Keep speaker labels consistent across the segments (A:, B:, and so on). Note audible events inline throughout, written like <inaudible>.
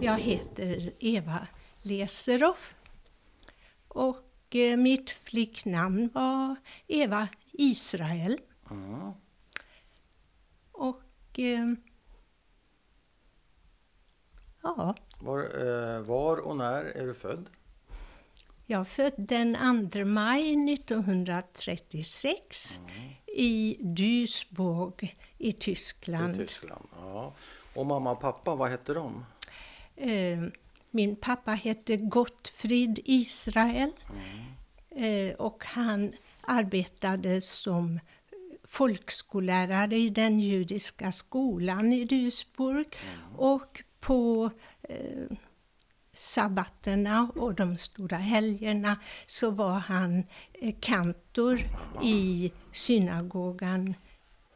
A: Jag heter Eva Leseroff och eh, mitt flicknamn var Eva Israel.
B: Ja.
A: Och eh, ja,
B: Var, eh, var och när är du född?
A: jag född den 2 maj 1936 i Duisburg i Tyskland.
B: I Tyskland. Ja. Och mamma och pappa, vad hette de?
A: Eh, min pappa hette Gottfrid Israel eh, och han arbetade som folkskollärare i den judiska skolan i Duisburg och på eh, sabbaterna och de stora helgerna så var han eh, kantor i synagogan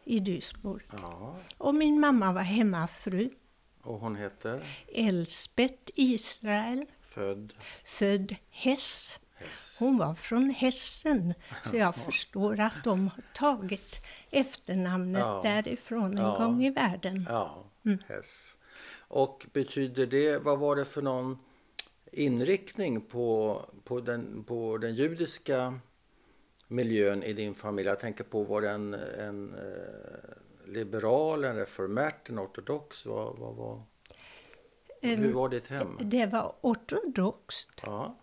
A: i Duisburg.
B: Ja.
A: Och min mamma var hemmafru,
B: Och hon heter?
A: Elsbet Israel
B: Född?
A: född Hess.
B: Hess.
A: Hon var från Hessen, så
B: <laughs>
A: jag förstår att de har tagit efternamnet
B: Ja.
A: därifrån en
B: Ja.
A: gång i världen.
B: Ja, Hess. Och betyder det, vad var det för någon inriktning på, på, den, på den judiska miljön i din familj? Jag tänker på, var det en, en eh, liberal, en reformärt, en ortodox? Vad, vad, var hur var ditt hem?
A: Det var ortodoxt.
B: Ja.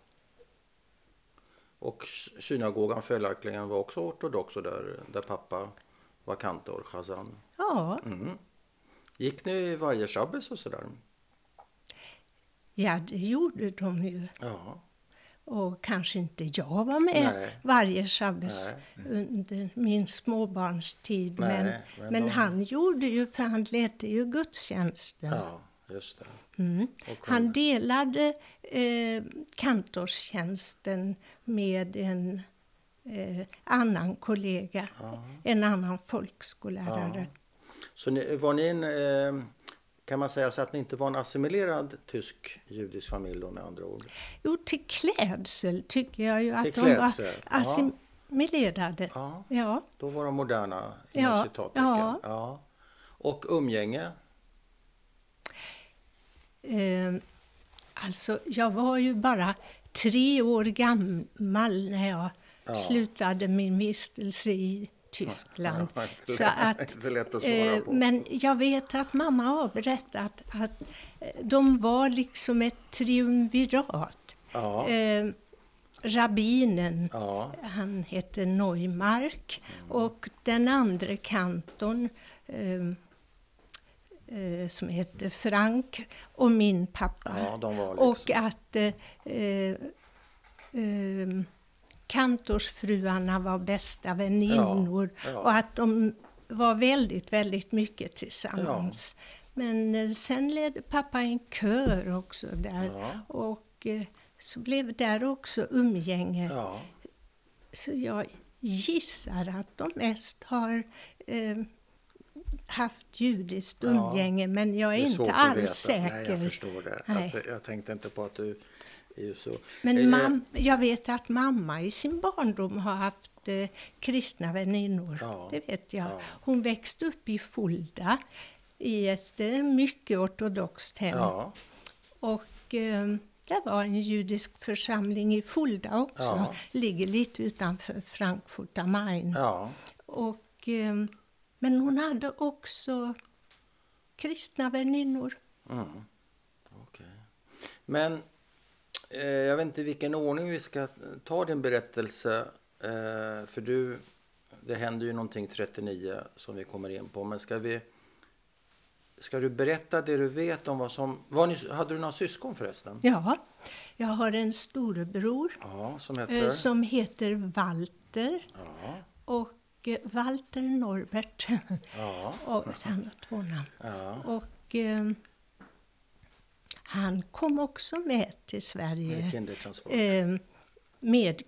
B: Och synagogan följaktligen var också ortodox och där, där pappa var kantor, Chazan. Mm.
A: Ja,
B: Gick ni varje shabbes och sådär?
A: ja det gjorde de ju.
B: Ja.
A: Och kanske inte jag var med
B: Nej.
A: varje shabbes under min småbarnstid.
B: Nej,
A: men
B: men
A: men,
B: de-
A: han gjorde ju, för han ledde ju gudstjänsten.
B: Ja, just det. Och hon-
A: Han delade eh, kantorstjänsten med en eh, annan kollega, en annan folkskollärare.
B: Så ni, var ni en, eh, kan man säga så att ni inte var en assimilerad tysk judisk familj då med andra ord?
A: Jo, till klädsel tycker jag ju att
B: Till
A: de var
B: klädsel, ja.
A: assimilerade.
B: Ja.
A: Ja.
B: Då var de moderna, inom
A: Ja,
B: citattecken.
A: ja.
B: ja. Och umgänge?
A: Eh, alltså, jag var ju bara tre år gammal när jag slutade min vistelse i Tyskland.
B: Ja, inte
A: så
B: lätt-
A: att, eh,
B: inte lätt att svara på.
A: men jag vet att mamma har berättat att eh, de var liksom ett triumvirat.
B: Ja.
A: Eh, rabbinen,
B: Ja.
A: han hette Neumark och den andra kantorn eh, eh, som hette Frank och min pappa.
B: Ja, de var liksom-
A: Och att eh, eh, eh, kantorsfruarna var bästa väninnor
B: Ja, ja.
A: och att de var väldigt, väldigt mycket tillsammans. Men eh, sen ledde pappa en kör också där och eh, så blev där också umgänge.
B: Ja.
A: Så jag gissar att de mest har eh, haft judiskt umgänge, men jag är,
B: Det är svårt
A: inte
B: att
A: alls
B: veta.
A: säker.
B: Nej, jag förstår det.
A: Nej.
B: Att, jag tänkte inte på att du är ju så... Eh,
A: Men mam- jag vet att mamma i sin barndom har haft eh, kristna väninnor.
B: Ja,
A: Det vet jag.
B: ja.
A: Hon växte upp i Fulda i ett eh, mycket ortodoxt hem.
B: Ja,
A: Och eh, det var en judisk församling i Fulda också.
B: Ja.
A: Ligger lite utanför Frankfurt am Main.
B: ja.
A: Och, eh, men hon hade också kristna väninnor.
B: Mm. Okej. Men eh, jag vet inte i vilken ordning vi ska ta din berättelse. Eh, för du, det händer ju någonting 39 som vi kommer in på. Men ska vi... Ska du berätta det du vet om vad som... Var ni, hade du några syskon förresten?
A: Ja, jag har en storebror
B: Ja, som
A: eh,
B: heter...
A: som heter Walter.
B: Ja,
A: Och eh, Walter Norbert. <laughs>
B: ja,
A: och sen har två namn.
B: ja.
A: Och eh, han kom också med till
B: Med
A: Sverige
B: kindertransport.
A: eh, med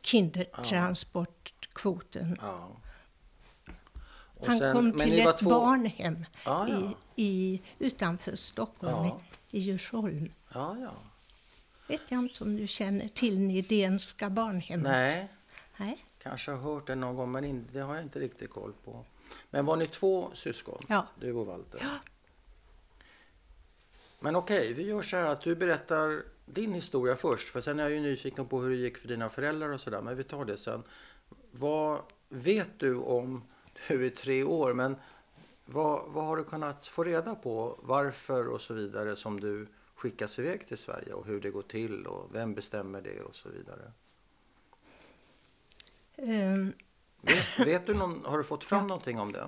A: kindertransportkvoten.
B: Ja. Och
A: Han
B: sen-
A: kom
B: men
A: till
B: ni var
A: ett
B: två-
A: barnhem
B: Ja, ja.
A: I, i, utanför Stockholm,
B: Ja.
A: i Djursholm.
B: Ja, ja.
A: vet jag inte om du känner till Nidénska barnhemmet?
B: Nej,
A: Nej?
B: kanske har hört det någon gång, men in- det har jag inte riktigt koll på. Men var ni två syskon?
A: Ja.
B: Du och Walter? Ja. Men okej, vi gör så här att du berättar din historia först. För sen är jag ju nyfiken på hur det gick för dina föräldrar och sådär. Men vi tar det sen. Vad vet du om, du är tre år, men vad, vad har du kunnat få reda på? Varför och så vidare som du skickas iväg till Sverige och hur det går till och vem bestämmer det och så vidare.
A: Ehm,
B: Vet, vet du någon, har du fått fram någonting om det?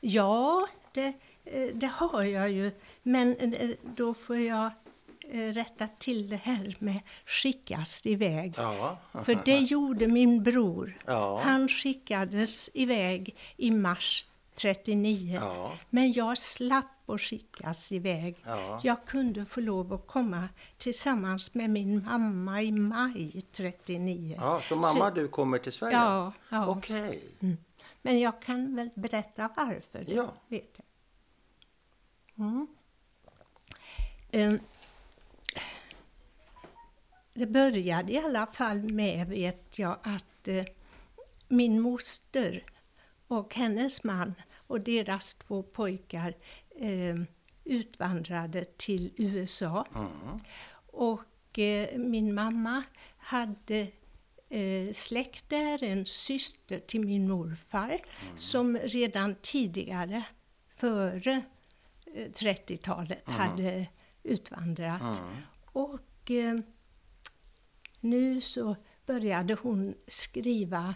A: Ja, det, eh, det har jag ju. Men eh, då får jag eh, rätta till det här med skickas iväg.
B: Ja.
A: För
B: <laughs>
A: det gjorde min bror.
B: Ja.
A: Han skickades iväg i mars 39.
B: Ja.
A: Men jag slapp att skickas iväg.
B: Ja.
A: Jag kunde få lov att komma tillsammans med min mamma i maj 39.
B: ja, så mamma, du kommer till Sverige?
A: Ja, ja.
B: Okej.
A: Mm. Men jag kan väl berätta varför. det
B: Ja.
A: Vet jag. Mm. Ehm, Det började i alla fall med, vet jag, att eh, min moster och hennes man och deras två pojkar eh, utvandrade till USA. Och eh, min mamma hade eh, släkt där, en syster till min morfar, som redan tidigare, före eh, 30-talet, hade utvandrat. Och eh, nu så började hon skriva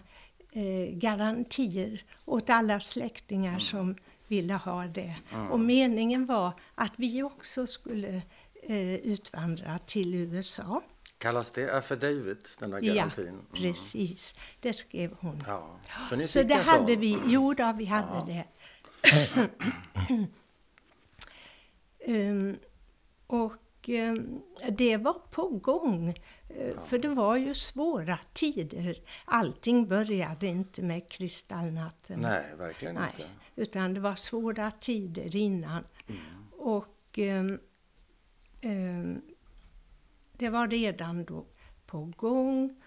A: eh, garantier åt alla släktingar som ville ha det. Och meningen var att vi också skulle eh, utvandra till USA.
B: Kallas det affidavit, den där garantin? Mm.
A: Ja, precis. Det skrev hon.
B: Ja. Så, ni
A: Så
B: fick
A: det
B: en sån?
A: hade vi. Jo då, vi hade
B: <clears throat>
A: det. Ehm, och ehm, det var på gång, eh, för det var ju svåra tider. Allting började inte med kristallnatten.
B: Nej, verkligen inte.
A: Utan det var svåra tider innan. Och ehm, ehm, det var redan då på gång.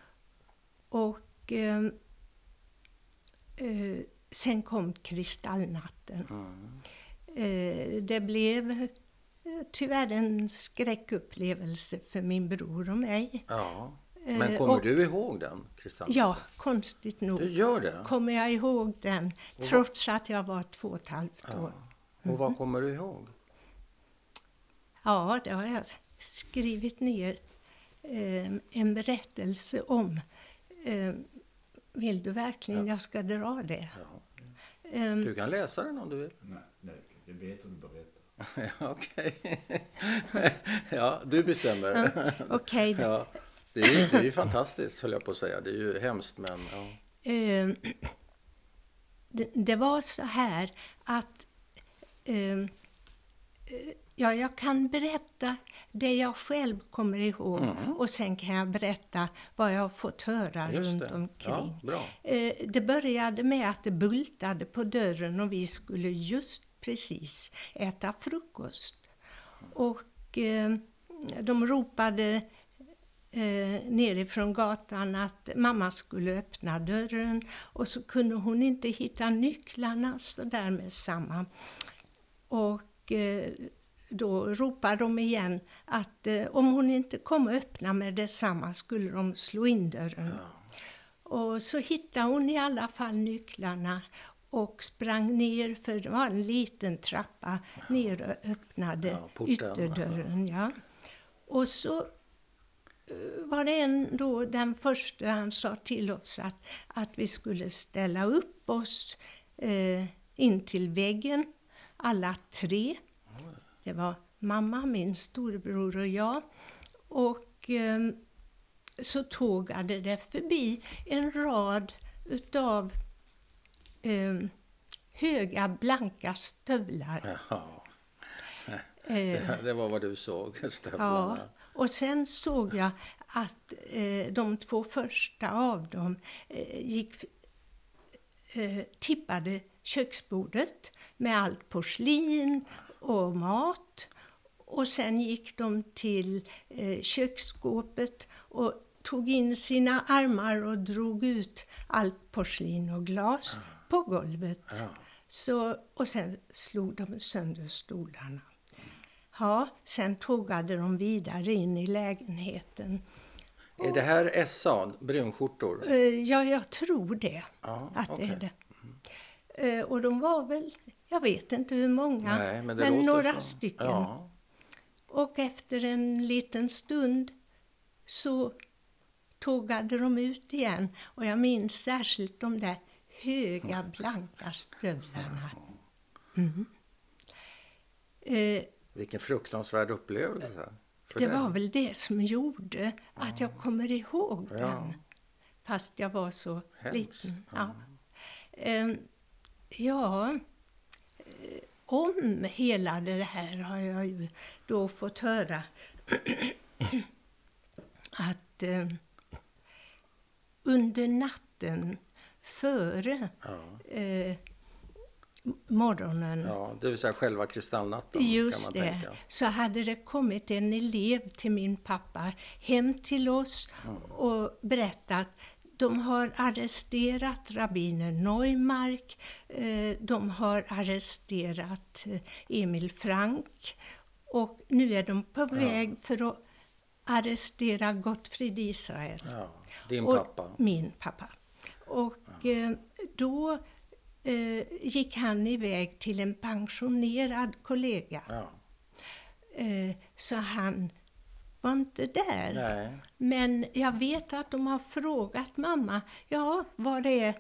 A: Och ehm, eh, sen kom kristallnatten. Eh, det blev eh, tyvärr en skräckupplevelse för min bror och mig.
B: Ja. Men
A: Eh,
B: kommer
A: och-
B: du ihåg den, Kristanna?
A: Ja, konstigt nog
B: Du gör det?
A: kommer jag ihåg den, trots att jag var två och ett halvt år.
B: Och
A: Mm.
B: vad kommer du ihåg?
A: Ja, det har jag skrivit ner eh, en berättelse om. Eh, vill du verkligen jag ska dra det? Eh,
B: Du kan läsa den om du vill. <laughs>
C: Nej, nej, det vet hon berättar.
B: Ja, Okej. ja, du bestämmer.
A: Okej Mm. då.
B: Ja. Det är, ju, det är ju fantastiskt, höll jag på att säga. Det är ju hemskt, men... Ja.
A: Eh, det, det var så här att... Eh, eh, ja, jag kan berätta det jag själv kommer ihåg och sen kan jag berätta vad jag har fått höra
B: Mm. Just
A: runt
B: det.
A: omkring.
B: Ja,
A: <laughs>
B: bra.
A: Eh, Det började med att det bultade på dörren och vi skulle just precis äta frukost. Och eh, de ropade eh, nerifrån gatan att mamma skulle öppna dörren och så kunde hon inte hitta nycklarna så där med samma. Och eh, då ropade de igen att eh, om hon inte kom och öppna med detsamma skulle de slå in dörren. Och så hittade hon i alla fall nycklarna och sprang ner, för det var en liten trappa, ner och öppnade
B: Ja, porten.
A: ytterdörren. Ja. Och så var det en då, den första, han sa till oss att, att vi skulle ställa upp oss eh, in till väggen, alla tre. Det var mamma, min storbror och jag. Och ehm, så tågade det förbi en rad utav ehm, höga blanka stövlar.
B: Ja.
A: Eh,
B: Det var vad du såg, <laughs>
A: Ja,
B: stövlarna.
A: och sen såg jag att eh, de två första av dem eh, gick, eh, tippade köksbordet med allt porslin och mat. Och sen gick de till eh, köksskåpet och tog in sina armar och drog ut allt porslin och glas på golvet. Så, och sen slog de sönder stolarna. Ja, sen tågade de vidare in i lägenheten.
B: Är det här SA, brunskjortor?
A: Eh, Ja, jag tror det.
B: Ja,
A: Att det
B: okej.
A: är det. Eh, Och de var väl, jag vet inte hur många,
B: Nej, men
A: men,
B: det låter
A: några
B: så.
A: stycken.
B: Ja.
A: Och efter en liten stund så tågade de ut igen. Och jag minns särskilt de där höga blanka stövlarna. Mm. Eh,
B: Vilken fruktansvärd upplevelse. för
A: det
B: dig.
A: var väl det som gjorde att jag kommer ihåg
B: Ja.
A: den. Fast jag var så
B: Hemskt.
A: liten. Ja. Ehm, ja, eh, om hela det här har jag ju då fått höra <clears throat> att eh, under natten före
B: Ja.
A: eh, morgonen
B: ja, det vill säga själva kristallnatten
A: Just
B: kan man
A: det.
B: tänka.
A: Så hade det kommit en elev till min pappa hem till oss
B: Mm.
A: och berättat de har arresterat rabbinen Neumark, eh, de har arresterat eh, Emil Frank och nu är de på väg för att arrestera Gottfrid Israel.
B: Ja, din
A: Och-
B: pappa.
A: Min pappa. Och eh, då eh, gick han iväg till en pensionerad kollega.
B: Ja.
A: Eh, så han var inte där.
B: Nej.
A: Men jag vet att de har frågat mamma, ja, var är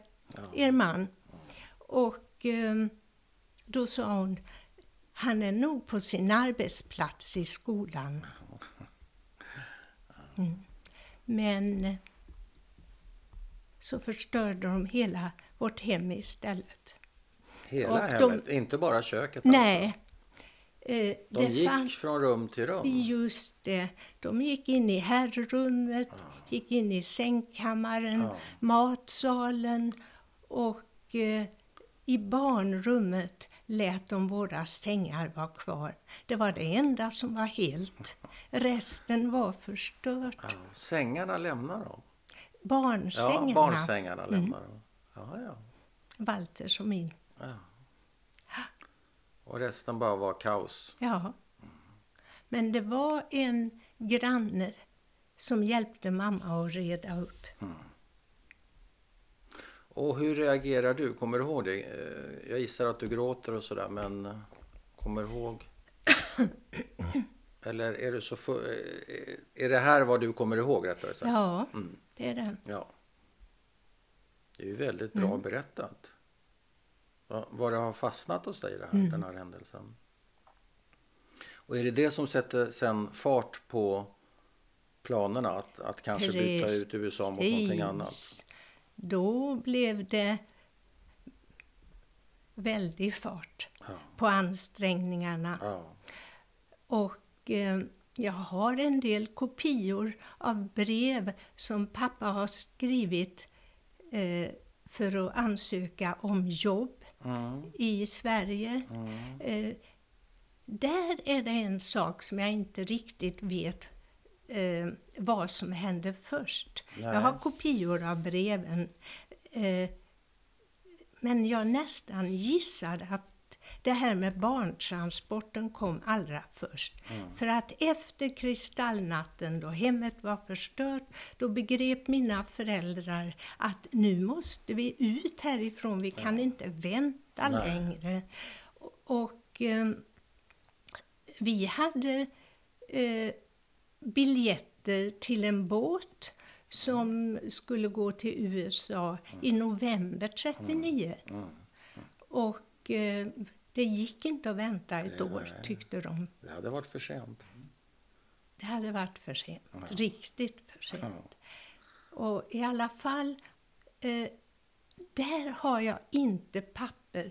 A: er man? Och eh, då sa hon, han är nog på sin arbetsplats i
B: <laughs>
A: skolan. Mm. Men så förstörde de hela vårt hem istället.
B: Alltså. Hela
A: Och de-
B: hemmet, inte bara köket. Alltså.
A: Nej. Eh,
B: De gick
A: fann-
B: från rum till rum.
A: Just det. De gick in i herrummet, gick in i sängkammaren,
B: Ja.
A: matsalen och eh, i barnrummet lät de våra sängar vara kvar. Det var det enda som var helt. Resten var förstört.
B: Ja. Sängarna lämnar de.
A: Barnsängarna,
B: Ja, barnsängarna
A: Mm.
B: lämnar de. Ja, ja.
A: Walters och min.
B: ja. Och resten bara var kaos.
A: Ja. Men det var en granne som hjälpte mamma att reda upp.
B: Mm. Och hur reagerar du? Kommer du ihåg det? Eh, Jag gissar att du gråter och sådär, men eh, kommer du ihåg? Eller är, du så fu- eh, är det här vad du kommer ihåg rättare sagt?
A: Ja,
B: Mm.
A: det är det.
B: Ja. Det är ju väldigt bra
A: Mm.
B: berättat. Va- Vad det har fastnat hos dig, det här,
A: Mm.
B: den här händelsen. Och är det det som sätter sen fart på planerna att, att kanske byta
A: Precis.
B: ut USA mot någonting annat?
A: Precis. Då blev det väldig fart
B: Ja.
A: på ansträngningarna.
B: Ja.
A: Och eh, jag har en del kopior av brev som pappa har skrivit eh, för att ansöka om jobb
B: Mm.
A: i Sverige. Eh, där är det en sak som jag inte riktigt vet eh, vad som hände först.
B: Nej.
A: Jag har kopior av breven. Eh, men jag nästan gissar att det här med barntransporten kom allra först.
B: Mm.
A: För att efter kristallnatten, då hemmet var förstört, då begrep mina föräldrar att nu måste vi ut härifrån, vi kan inte vänta
B: Nej.
A: längre. Och eh, vi hade eh, biljetter till en båt som skulle gå till USA i november 39. Och eh, det gick inte att vänta ett år, tyckte de.
B: Det hade varit för sent.
A: Det hade varit för sent. Riktigt för sent. Och i alla fall, eh, där har jag inte papper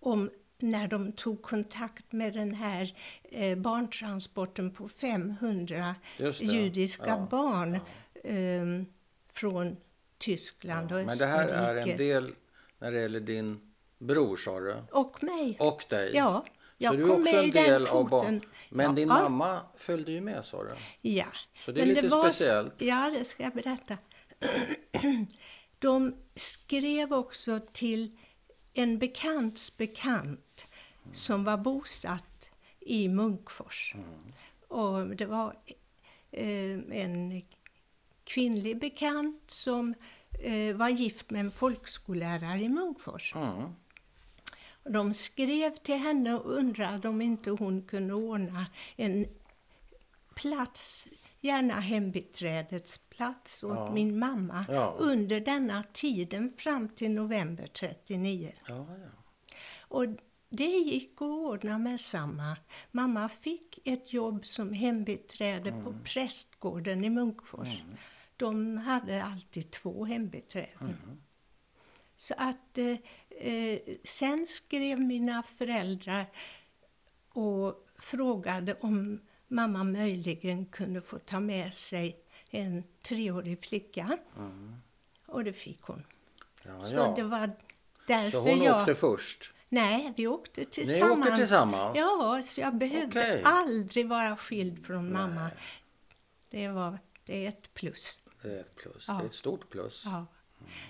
A: om när de tog kontakt med den här eh, barntransporten på 500
B: Just det,
A: judiska
B: ja,
A: barn ehm, från Tyskland och
B: Men det här är en
A: Österrike.
B: del när det gäller din bror, sa du,
A: Och mig.
B: och dig.
A: ja, jag
B: Så du är
A: kom
B: också
A: med
B: en
A: i den
B: del av
A: kvoten.
B: barn. Men
A: ja,
B: din
A: ja.
B: mamma följde ju med, sa du.
A: Ja.
B: Så det är lite
A: s-
B: speciellt.
A: Ja, det ska jag berätta. <clears throat> De skrev också till en bekants bekant som var bosatt i Munkfors.
B: Mm.
A: Och det var eh, en kvinnlig bekant som eh, var gift med en folkskollärare i Munkfors.
B: Mm.
A: Och De skrev till henne och undrade om inte hon kunde ordna en plats, gärna hembiträdets plats åt
B: Ja.
A: min mamma
B: Ja.
A: under denna tiden fram till november 39.
B: Ja, ja.
A: Och det gick att ordna med samma. Mamma fick ett jobb som hembiträde på
B: Mm.
A: prästgården i Munkfors. De hade alltid två hembiträden.
B: Mm.
A: Så att eh, eh, sen skrev mina föräldrar och frågade om mamma möjligen kunde få ta med sig en treårig flicka. Och det fick hon.
B: Mm. ja,
A: Så
B: ja.
A: det var därför
B: Så hon
A: jag...
B: åkte först?
A: Nej, vi åkte tillsammans.
B: tillsammans?
A: Ja, så jag behövde
B: Okej.
A: aldrig vara skild från mamma. Det, var, det är ett plus.
B: Det är ett plus.
A: Ja.
B: Det är ett stort plus.
A: Ja.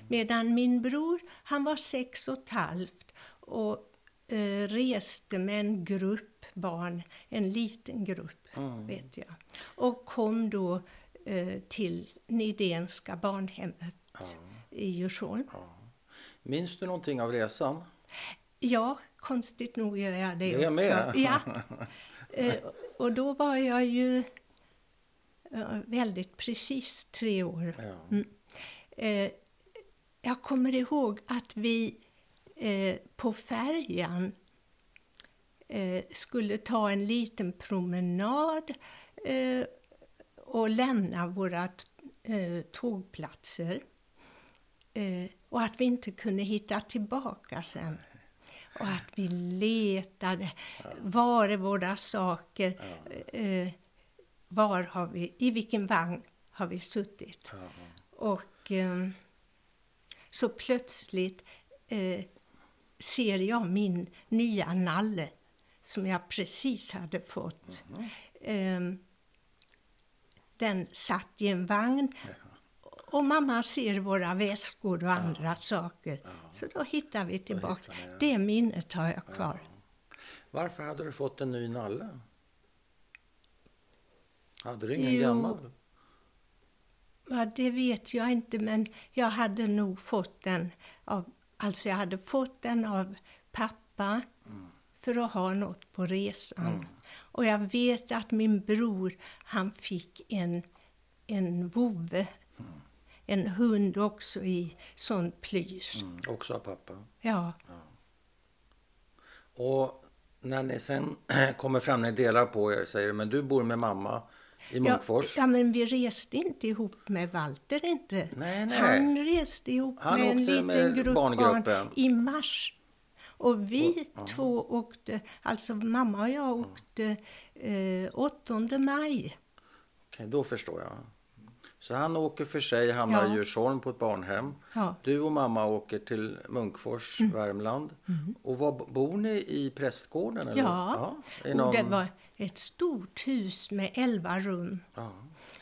A: Medan min bror, han var sex och ett halvt och eh, reste med en grupp barn, en liten grupp
B: Mm.
A: vet jag. Och kom då eh, till Nidénska barnhemmet i Djursholm.
B: Minns du någonting av resan?
A: Ja, konstigt nog gör jag det
B: Det är jag med.
A: också. Ja. Eh, Och då var jag ju eh, väldigt precis tre år.
B: Ja.
A: Eh, Jag kommer ihåg att vi eh, på färjan eh, skulle ta en liten promenad eh, och lämna våra t- eh, tågplatser. Eh, och att vi inte kunde hitta tillbaka sen. Och att vi letade. Var är våra saker? Eh, var har vi, I vilken vagn har vi suttit?
B: Ja.
A: Och eh, så plötsligt eh, ser jag min nya nalle som jag precis hade fått. Eh, den satt i en vagn och mamma ser våra väskor och andra saker. Så då hittar vi tillbaka.
B: hittar ni, ja.
A: Det minnet har jag kvar.
B: Varför hade du fått en ny nalle? Hade du ingen
A: Jo.
B: gammal?
A: Ja, det vet jag inte, men jag hade nog fått den av, alltså jag hade fått den av pappa för att ha något på resan.
B: Mm.
A: Och jag vet att min bror, han fick en, en vovve, en hund också i sån plysch.
B: Mm. Också av pappa.
A: Ja,
B: Och när ni sen <clears throat> kommer fram, ni delar på er, säger du, men du bor med mamma i
A: ja,
B: Munkfors.
A: ja, men vi reste inte ihop med Walter inte.
B: Nej, nej.
A: Han reste ihop
B: Han
A: med en
B: åkte
A: liten
B: med
A: grupp
B: barngruppen.
A: barn i mars. Och vi två åkte, alltså mamma och jag åkte eh, 8 maj.
B: Okej, då förstår jag. Så han åker för sig, hamnar
A: Ja.
B: i Djursholm på ett barnhem.
A: Ja. Mm.
B: Du och mamma åker till Munkfors, Värmland. Och var, bor ni i prästgården? Eller?
A: Ja,
B: i
A: och det
B: någon-
A: var ett stort hus med 11 rum.
B: Ja.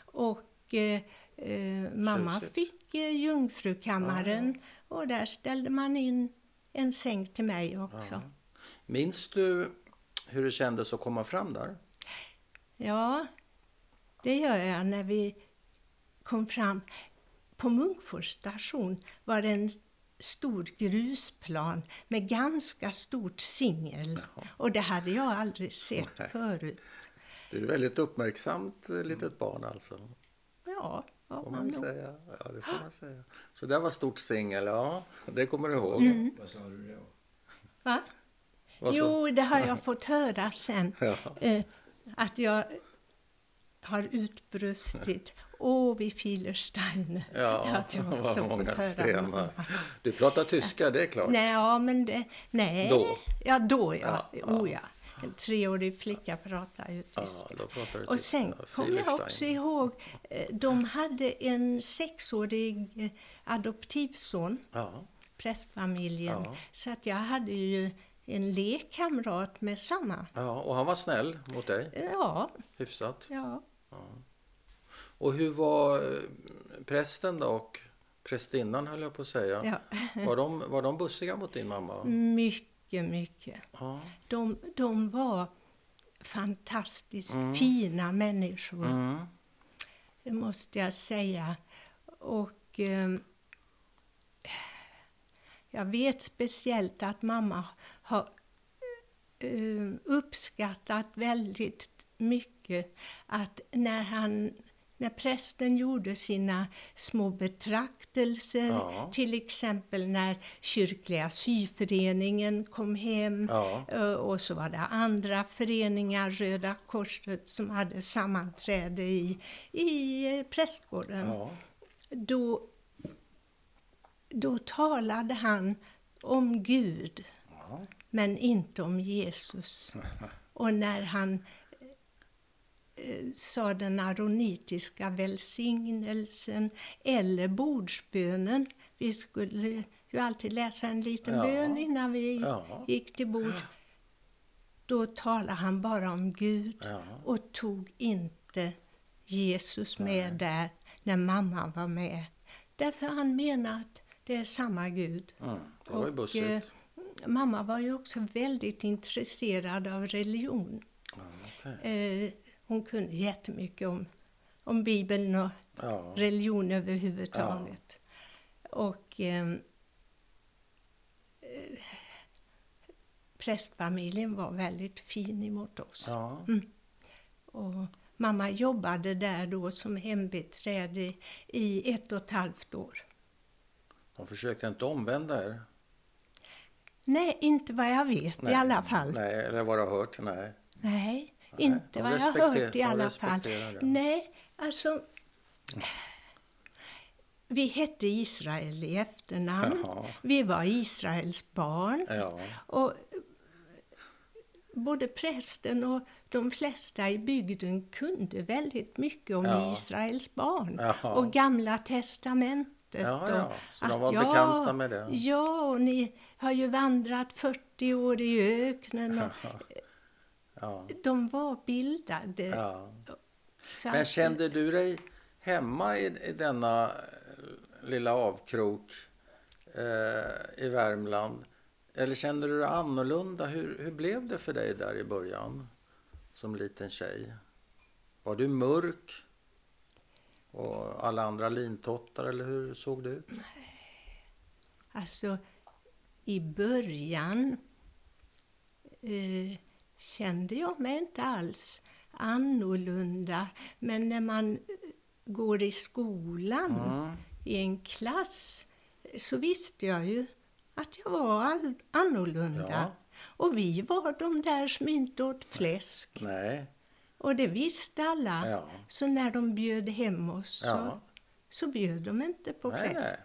A: Och eh, eh, mamma
B: Tjusigt.
A: fick eh, jungfrukammaren och där ställde man in en säng till mig också.
B: Minns du hur det kändes att komma fram där?
A: Ja, det gör jag. När vi kom fram på Munkfors station var det en stor grusplan med ganska stort singel. Och det hade jag aldrig sett förut.
B: Du är väldigt uppmärksamt eh, litet barn alltså.
A: Ja, ja
B: Får man
A: man
B: ju
A: nog.
B: säga. Ja, det får man säga. Så där var stort singel, ja. Det kommer du ihåg.
A: Mm.
C: Vad sa du då?
A: Va?
B: Vad så?
A: Jo, det har
B: <laughs>
A: jag fått höra sen.
B: Ja.
A: Eh, att jag har
B: <laughs>
A: utbrustit Åh, vi Filerstein.
B: Ja,
A: det var
B: <laughs> vad
A: så
B: många
A: fått höra.
B: stenar. Du pratar tyska, det är klart.
A: Nej, ja, men det, nej.
B: Då?
A: Ja, då ja.
B: Ja,
A: Oh, ja. En treårig flicka pratar ju
B: Ja,
A: tyska.
B: då pratar du
A: Och
B: tyska.
A: sen kommer jag också
B: Filerstein.
A: ihåg, eh, de hade en sexårig eh, adoptivson,
B: Ja,
A: prästfamiljen.
B: Ja.
A: Så att jag hade ju en lekkamrat med samma.
B: ja, och han var snäll mot dig,
A: Ja,
B: hyfsat.
A: ja.
B: Och hur var eh, prästen då och prästinnan höll jag på att säga.
A: ja. Mm.
B: Var, de, var de bussiga mot din mamma?
A: Mycket, mycket.
B: Ja,
A: De, de var fantastiskt fina människor.
B: Mm.
A: Det måste jag säga. Och eh, jag vet speciellt att mamma har eh, uppskattat väldigt mycket att när, han, när prästen gjorde sina små betraktelser,
B: Ja.
A: till exempel när kyrkliga syföreningen kom hem,
B: Ja.
A: Eh, Och så var det andra föreningar, Röda Korset, som hade sammanträde i, i eh, prästgården.
B: Ja.
A: Då, då talade han om Gud,
B: Ja.
A: men inte om Jesus. Och när han eh, sa den aronitiska välsignelsen eller bordsbönen. Vi skulle ju alltid läsa en liten
B: Ja.
A: bön innan vi
B: Ja.
A: gick till bord. Då talade han bara om Gud
B: Ja.
A: och tog inte Jesus med där när mamma var med. Därför han menar att det är samma Gud.
B: Mm. Det var ju
A: Och, eh,
B: bussigt.
A: mamma var ju också väldigt intresserad av religion.
B: Ja, okej.
A: Eh, hon kunde jättemycket om, om Bibeln och
B: ja.
A: religion överhuvudtaget. Och ehm, eh, prästfamiljen var väldigt fin emot oss.
B: ja.
A: Och mamma jobbade där då som hembiträde i ett och ett halvt år.
B: De försökte inte omvända er?
A: Nej, inte vad jag vet i alla fall.
B: Nej, eller vad du har hört? Nej.
A: Nej, inte
B: de
A: vad jag har
B: respekter-
A: hört
B: de
A: i alla fall.
B: respekterar det. Mm.
A: Nej, alltså... Vi hette Israel i efternamn.
B: Jaha.
A: Vi var Israels barn.
B: Ja.
A: Och eh, både prästen och de flesta i bygden kunde väldigt mycket om
B: Ja.
A: Israels barn
B: Jaha.
A: och Gamla testamentet.
B: Ja, ja.
A: och
B: Så de var bekanta med det.
A: Ja, och ni har ju vandrat 40 år i öknen.
B: <laughs>
A: Och
B: Ja.
A: de var bildade.
B: ja.
A: Så
B: Men
A: att-
B: kände du dig hemma i, i denna eh, lilla avkrok eh, i Värmland? Eller kände du dig annorlunda? Hur, hur blev det för dig där i början som liten tjej? Var du mörk? Och alla andra lintottar, eller hur såg du ut?
A: Alltså, i början eh, kände jag mig inte alls annorlunda. Men när man eh, går i skolan, i en klass, eh, så visste jag ju att jag var all- annorlunda.
B: Ja.
A: Och vi var de där som inte åt fläsk.
B: Nej.
A: Och det visste alla.
B: Ja.
A: Så när de bjöd hem oss så,
B: Ja.
A: så bjöd de inte på
B: Nej,
A: fläsk.
B: nej.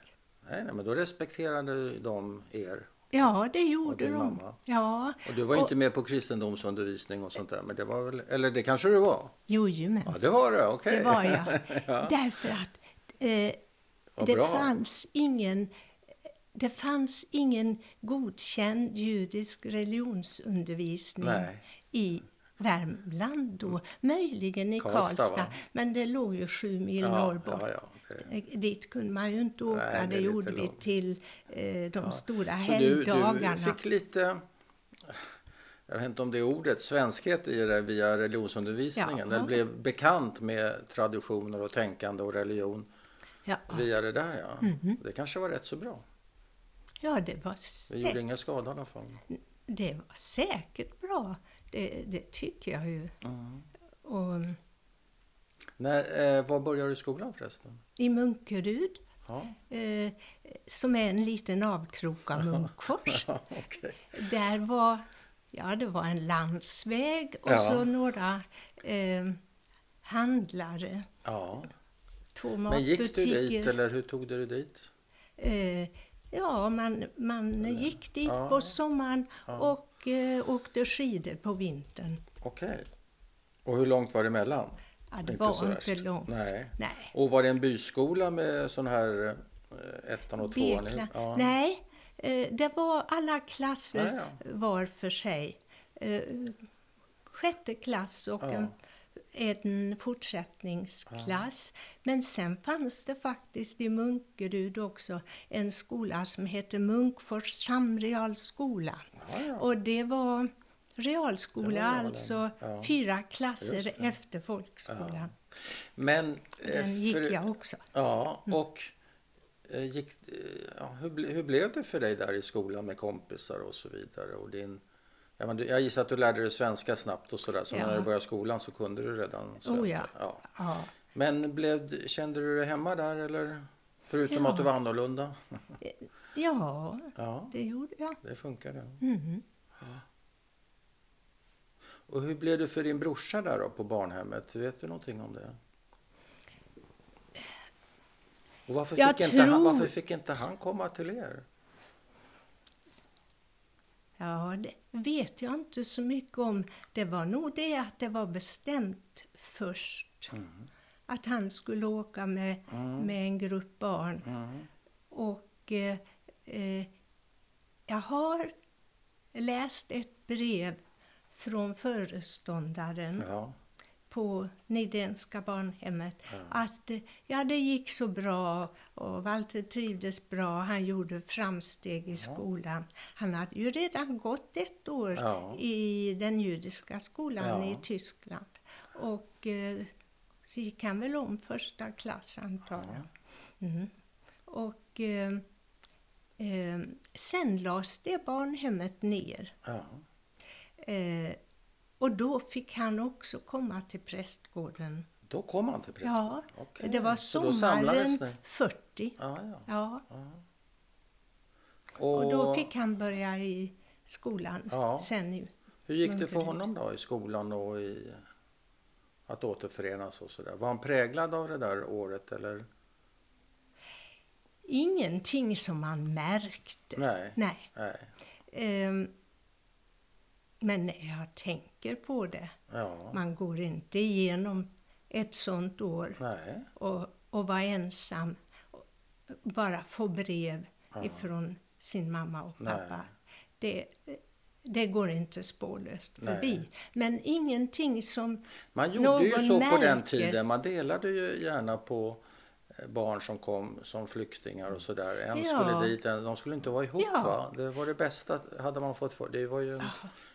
B: nej, nej, men då respekterade de er.
A: Ja, det gjorde
B: din
A: de.
B: mamma?
A: Ja.
B: Och du var inte med på kristendomsundervisning och sånt där, men det var väl, eller det kanske du var?
A: Jojomän,
B: Ja, det var du, okej.
A: det var jag.
B: <laughs>
A: Därför att eh,
B: Vad
A: det,
B: bra.
A: fanns ingen, det fanns ingen godkänd judisk religionsundervisning
B: Nej.
A: i Värmland då. Möjligen i
B: Karlstad,
A: Karlstad,
B: va?
A: men det låg ju sju mil
B: Ja,
A: norr bort.
B: ja, ja, det-
A: Dit kunde man ju inte åka,
B: Nej, det
A: det,
B: är lite
A: gjorde vi
B: långt.
A: till eh, de stora
B: Så du,
A: helgdagarna.
B: du fick lite, jag vet inte om det är ordet, svenskhet i det via religionsundervisningen.
A: Ja.
B: Den blev bekant med traditioner och tänkande och religion
A: ja.
B: via det där, ja.
A: Mm-hmm.
B: Det kanske var rätt så bra.
A: ja, det var
B: Det gjorde
A: säkert,
B: ingen skada i alla fall.
A: det var säkert bra. Det, det tycker jag ju. Och, eh,
B: När, eh, var började du skolan förresten?
A: I Munkerud,
B: Ja, <laughs>
A: eh, som är en liten avkrok av Munkfors.
B: okej.
A: Där var, ja, det var en landsväg och
B: Ja.
A: så några eh, handlare.
B: Ja.
A: Två
B: Men
A: matbutiker.
B: gick du dit eller hur tog du dig dit?
A: Eh, ja, man, man gick dit
B: Ja.
A: på sommaren och eh, åkte skidor på vintern.
B: Okej. Och hur långt var det emellan?
A: Ja, det var
B: så
A: inte
B: värst.
A: långt.
B: Nej.
A: Nej.
B: Och var det en byskola med sån här eh, ettan och tvåan?
A: Bekla-
B: Ja.
A: Nej, eh, det var alla klasser
B: Ja,
A: var för sig. Eh, Sjätte klass och
B: Ja.
A: en, en fortsättningsklass. Men sen fanns det faktiskt i Munkerud också en skola som hette Munkfors samrealskola.
B: Ja, ja.
A: Och det var realskola,
B: Det var den,
A: alltså
B: ja.
A: fyra
B: Just
A: klasser
B: det.
A: efter folkskolan.
B: Men... eh,
A: Den gick Mm.
B: för-
A: jag också.
B: Ja, och eh, gick, eh, ja, hur, ble- hur blev det för dig där i skolan med kompisar och så vidare? Och din, ja, men du, jag gissar att du lärde dig svenska snabbt och sådär, så
A: Ja.
B: när du började skolan så kunde du redan svenska?
A: Oh ja.
B: Ja.
A: ja.
B: Men blev, kände du dig hemma där eller? Förutom
A: Ja.
B: att du var annorlunda?
A: Ja,
B: Ja,
A: det gjorde jag.
B: det funkade.
A: Mm.
B: Och hur blev det för din brorsa där då på barnhemmet? Vet du någonting om det? Och varför,
A: Jag
B: fick inte han,
A: tror-
B: varför fick inte han komma till er?
A: Ja, det vet jag inte så mycket om. Det var nog det att det var bestämt först. Att han skulle åka med, med en grupp barn. Och eh, eh, jag har läst ett brev från föreståndaren
B: Ja.
A: på Nidénska barnhemmet att eh, ja, det gick så bra och Walter trivdes bra. Han gjorde framsteg i skolan. Han hade ju redan gått ett år
B: Ja.
A: i den judiska skolan
B: Ja.
A: i Tyskland och eh, så gick han väl om första klass antar jag. Mm. Och eh, eh, sen lades det barnhemmet ner.
B: ja.
A: Eh, och då fick han också komma till prästgården.
B: Då kom han till prästen?
A: Ja,
B: Okej.
A: det var
B: Så då samlades
A: sommaren
B: ni?
A: 40.
B: Ja, ja.
A: Ja,
B: Och,
A: och då fick han börja i skolan
B: Ja.
A: sen nu.
B: hur gick det
A: Munkerud.
B: för honom då i skolan och i att återförenas och sådär? Var han präglad av det där året eller?
A: Ingenting som man märkte.
B: Nej.
A: Nej.
B: Nej.
A: Ehm, men när jag tänker på det,
B: Ja.
A: man går inte igenom ett sånt år
B: Nej.
A: och, och vara ensam. Bara få brev ifrån sin mamma och
B: Nej.
A: pappa. Det, det går inte spårlöst förbi.
B: Nej.
A: Men ingenting som
B: Man gjorde
A: någon
B: ju så
A: märker.
B: på den tiden. Man delade ju gärna på eh, barn som kom som flyktingar och sådär. En
A: Ja.
B: skulle dit, en, de skulle inte vara ihop
A: Ja.
B: va? Det var det bästa hade man fått för. Det var ju en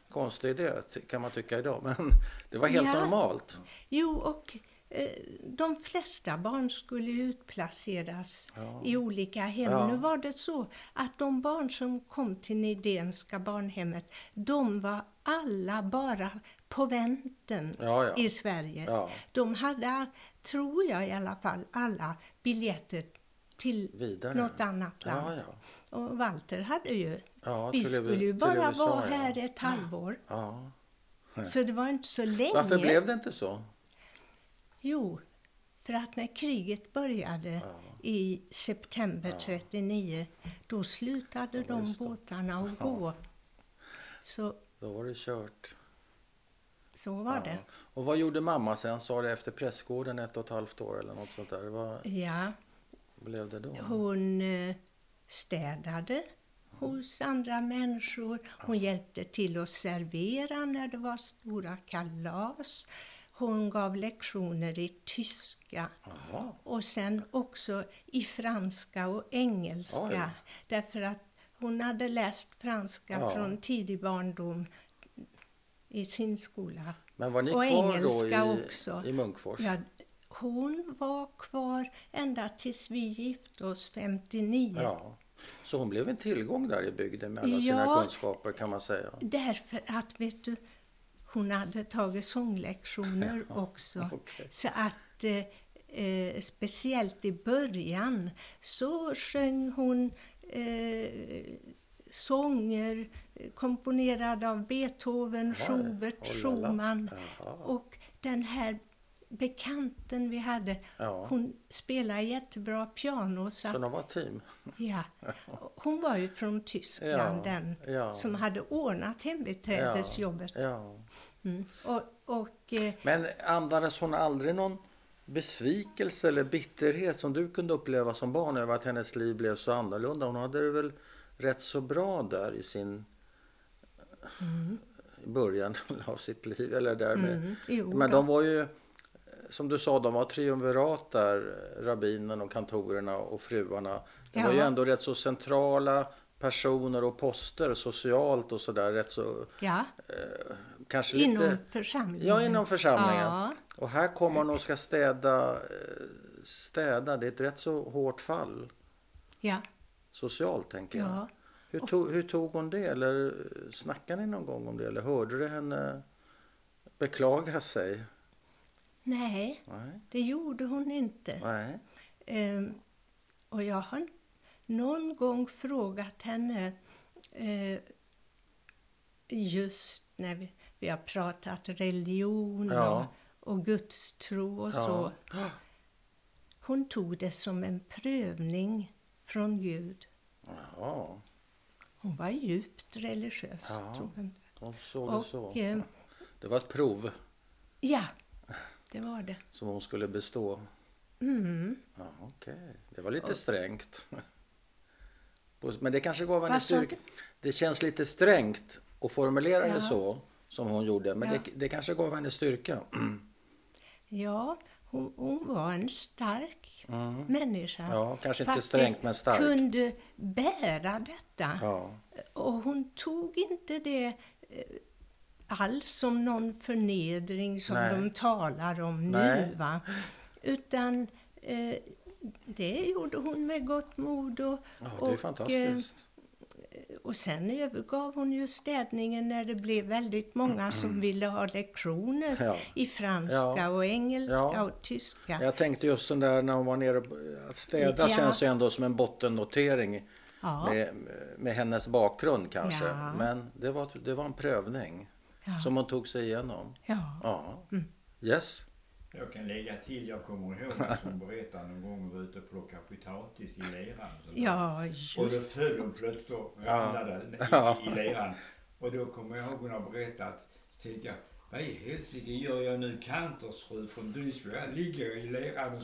B: konstig idé ty- kan man tycka idag. Men <laughs> det var helt
A: Ja.
B: normalt.
A: Jo, och eh, de flesta barn skulle ju utplaceras i olika hem.
B: Ja.
A: Nu var det så att de barn som kom till Nidénska barnhemmet, de var alla bara på vänten
B: Ja, ja.
A: i Sverige.
B: Ja.
A: De hade, tror jag i alla fall, alla biljetter till
B: Vidare.
A: något annat land.
B: Ja, ja.
A: Och Walter hade ju,
B: Ja,
A: vi
B: till U-
A: skulle ju
B: till
A: bara
B: USA,
A: vara
B: ja.
A: här ett halvår,
B: ja.
A: så det var inte så länge.
B: Varför blev det inte så?
A: Jo, för att när kriget började i september 39, då slutade de
B: just det.
A: båtarna att gå. Så,
B: Då var det kört.
A: så var
B: Ja. Och vad gjorde mamma sen? Sa det efter pressgården ett och ett halvt år eller något sånt där? Vad
A: det. Ja,
B: blev det då?
A: hon eh, städade hos andra människor. Hon hjälpte till att servera när det var stora kalas. Hon gav lektioner i tyska.
B: Jaha.
A: Och sen också i franska och engelska.
B: Oj.
A: Därför att hon hade läst franska
B: Ja.
A: från tidig barndom i sin skola.
B: Men var ni
A: Och
B: kvar då
A: engelska
B: i,
A: också.
B: i Munkfors?
A: Ja, hon var kvar ända tills vi gifte oss 59.
B: Ja. Så hon blev en tillgång där i bygden med alla sina
A: Ja.
B: kunskaper kan man säga.
A: Därför att, vet du, hon hade tagit sånglektioner också.
B: okej.
A: Så att eh, eh, speciellt i början så sjöng hon eh, sånger eh, komponerade av Beethoven,
B: Jaha,
A: Schubert,
B: oh la la.
A: Schumann.
B: Jaha.
A: Och den här bekanten vi hade,
B: Ja.
A: hon spelade jättebra piano. Så att
B: Så de var ett team.
A: Ja, hon var ju från Tyskland
B: Ja,
A: den
B: ja.
A: som hade ordnat hembiträdesjobbet.
B: Ja.
A: Mm. Och, och eh,
B: Men andades hon aldrig någon besvikelse eller bitterhet som du kunde uppleva som barn över att hennes liv blev så annorlunda? Hon hade det väl rätt så bra där i sin eh, i början <laughs> av sitt liv. Eller där med.
A: Mm, jo
B: Men
A: då.
B: de var ju, eh, som du sa, de var eh, triumvirat där, rabbinen och kantorerna och fruarna. De var ju
A: Ja.
B: ändå rätt så centrala personer och poster socialt och sådär rätt så
A: Ja,
B: eh, kanske
A: inom
B: lite...
A: församlingen.
B: Ja, inom församlingen.
A: Ja.
B: Och här kommer hon och ska städa, eh, städa. Det är ett rätt så hårt fall
A: Ja,
B: socialt tänker jag.
A: ja.
B: Hur, tog, hur tog hon det? Eller eh, snackade ni någon gång om det? Eller hörde du henne beklaga sig?
A: Nej,
B: Nej.
A: det gjorde hon inte.
B: Nej.
A: Ehm, och jag har någon gång frågat henne eh, just när vi, vi har pratat religion
B: Ja.
A: och, och gudstro och så. Hon tog det som en prövning från Gud.
B: Jaha.
A: Hon var djupt religiös.
B: Ja.
A: tror jag.
B: Hon såg det så.
A: Och, eh,
B: Det var ett prov
A: ja, det var det.
B: som hon skulle bestå.
A: Mm.
B: Ja, okej. Det var lite strängt. Men det kanske gav henne
A: Vad sa
B: styrka.
A: du?
B: Det känns lite strängt att formulera det
A: Ja.
B: så som hon gjorde. Men
A: Ja.
B: det, det kanske gav henne styrka. <clears throat>
A: Ja, hon, hon var en stark
B: Mm.
A: människa.
B: Ja, kanske inte
A: Faktiskt
B: strängt men starkt.
A: kunde bära detta.
B: Ja.
A: Och hon tog inte det eh, alls som någon förnedring som
B: Nej.
A: de talar om
B: Nej.
A: nu. Va? Utan eh, det gjorde hon med gott mod. Och,
B: ja, det är
A: och,
B: fantastiskt.
A: eh, och sen övergav hon ju städningen när det blev väldigt många som ville ha lektioner
B: Mm. Ja.
A: i franska
B: Ja.
A: och engelska
B: Ja.
A: och tyska.
B: Jag tänkte just den där när hon var nere, att städa
A: Ja.
B: känns ju ändå som en bottennotering
A: Ja.
B: med, med hennes bakgrund kanske.
A: Ja.
B: Men det var, det var en prövning
A: Ja. Mm.
B: som hon tog sig igenom.
A: Ja.
B: Ja. Yes.
C: Jag kan lägga till, jag kommer ihåg att hon berättade någon gång hon var ute och plockade potatis i leran. sådär.
A: ja,
C: Och då
A: just
C: föll hon plötsligt och ramlade
B: <laughs> Ja.
C: i, i leran. Och då kommer jag ihåg hon har berättat, så tänkte jag, vad i helsike gör jag nu, kantorsfru från Dyngsbo? Jag ligger i leran och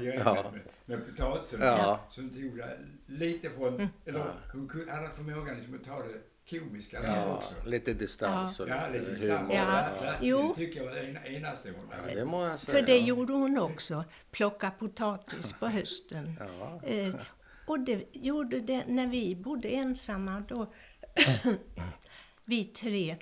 B: Ja,
C: ihjäl
B: ja.
C: mig med, med potatisen.
B: Ja.
C: Så hon tog det lite
A: Mm.
C: från, eller hon kunde- hade förmågan liksom att ta det komiska där
B: Ja,
C: också.
B: lite distans och
C: Ja,
B: lite
C: lite
B: humor.
C: distans.
A: Ja.
C: Det
A: Jo.
C: tycker jag var en, enastående.
B: Ja, det må jag säga.
A: För det gjorde hon också, plocka potatis på hösten.
B: <laughs> Ja.
A: Eh, och det gjorde det när vi bodde ensamma då, <clears throat> vi tre.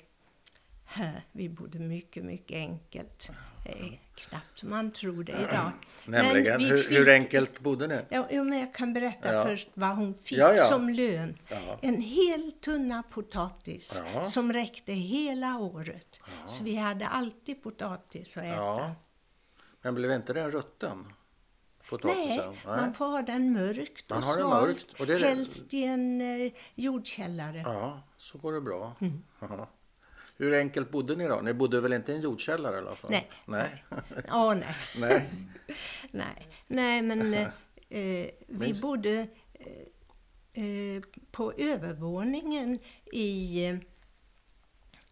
A: här. Vi bodde mycket, mycket enkelt. Det är knappt man tror det idag.
B: <clears throat> Nämligen,
A: vi
B: hur,
A: fick-
B: hur enkelt bodde ni?
A: Ja, jo, men jag kan berätta
B: Ja.
A: först vad hon fick
B: Ja, ja.
A: som lön.
B: Ja.
A: En hel tunna potatis
B: Ja.
A: som räckte hela året. Så vi hade alltid potatis att äta.
B: Ja. Men blev inte den rutten? Potatisen?
A: Nej, man får ha den mörkt
B: Man
A: och
B: har den
A: svalt.
B: mörkt, och det är det-
A: Helst i en eh, jordkällare.
B: Ja, så går det bra.
A: Mm.
B: Ja. <laughs> Hur enkelt bodde ni då? Ni bodde väl inte i en jordkällare i alla fall?
A: Nej.
B: Nej.
A: <laughs> Ja, nej.
B: Nej.
A: <laughs> nej. Nej,
B: <laughs>
A: men eh, eh, vi
B: Minst.
A: bodde eh, eh, på övervåningen i, eh,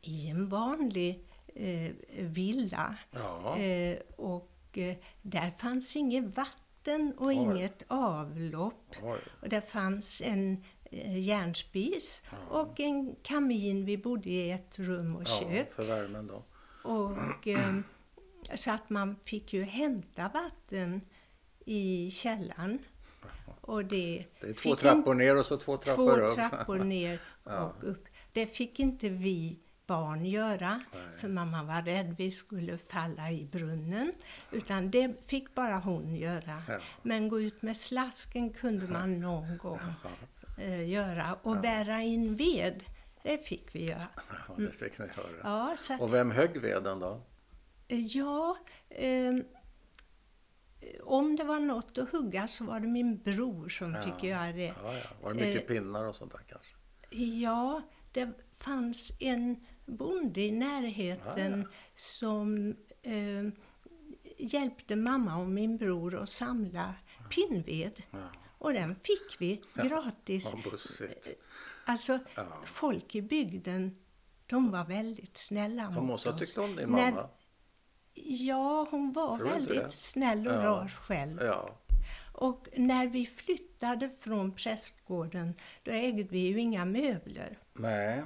A: i en vanlig eh, villa.
B: Ja.
A: Eh, och eh, där fanns inget vatten och inget avlopp.
B: Oj.
A: Och där fanns en eh, järnspis och en kamin. Vi bodde i ett rum och
B: ja,
A: kök.
B: för värmen då.
A: Och, eh, så att man fick ju hämta vatten i källaren. Och det,
B: Det är två
A: fick
B: trappor ner och så två
A: inte,
B: trappor
A: två
B: upp. <laughs>
A: trappor ner och upp. Det fick inte vi barn göra, för mamma var rädd vi skulle falla i brunnen. Utan det fick bara hon göra.
B: Ja.
A: Men gå ut med slasken kunde man någon gång eh, göra. Och bära in ved, det fick vi göra.
B: Ja, det fick ni höra.
A: Ja, så att eh,
B: Och vem högg veden då?
A: Ja, ehm, eh, om det var något att hugga så var det min bror som fick göra det. Eh,
B: Ja, ja. Var det mycket pinnar och sånt där kanske?
A: Ja, det fanns en bonde i närheten
B: Ah.
A: som ehm, hjälpte mamma och min bror att samla
B: Ah.
A: pinnved. Och den fick vi gratis.
B: Vad bussigt.
A: Alltså, folk i bygden, de var väldigt snälla
B: De
A: mot
B: måste ha
A: oss.
B: tyckt om din
A: När-
B: mamma.
A: Ja, hon var
B: Tror du inte det?
A: väldigt snäll och
B: Ja. Eh.
A: rar själv.
B: Ja.
A: Och när vi flyttade från prästgården, då ägde vi ju inga möbler.
B: Nej,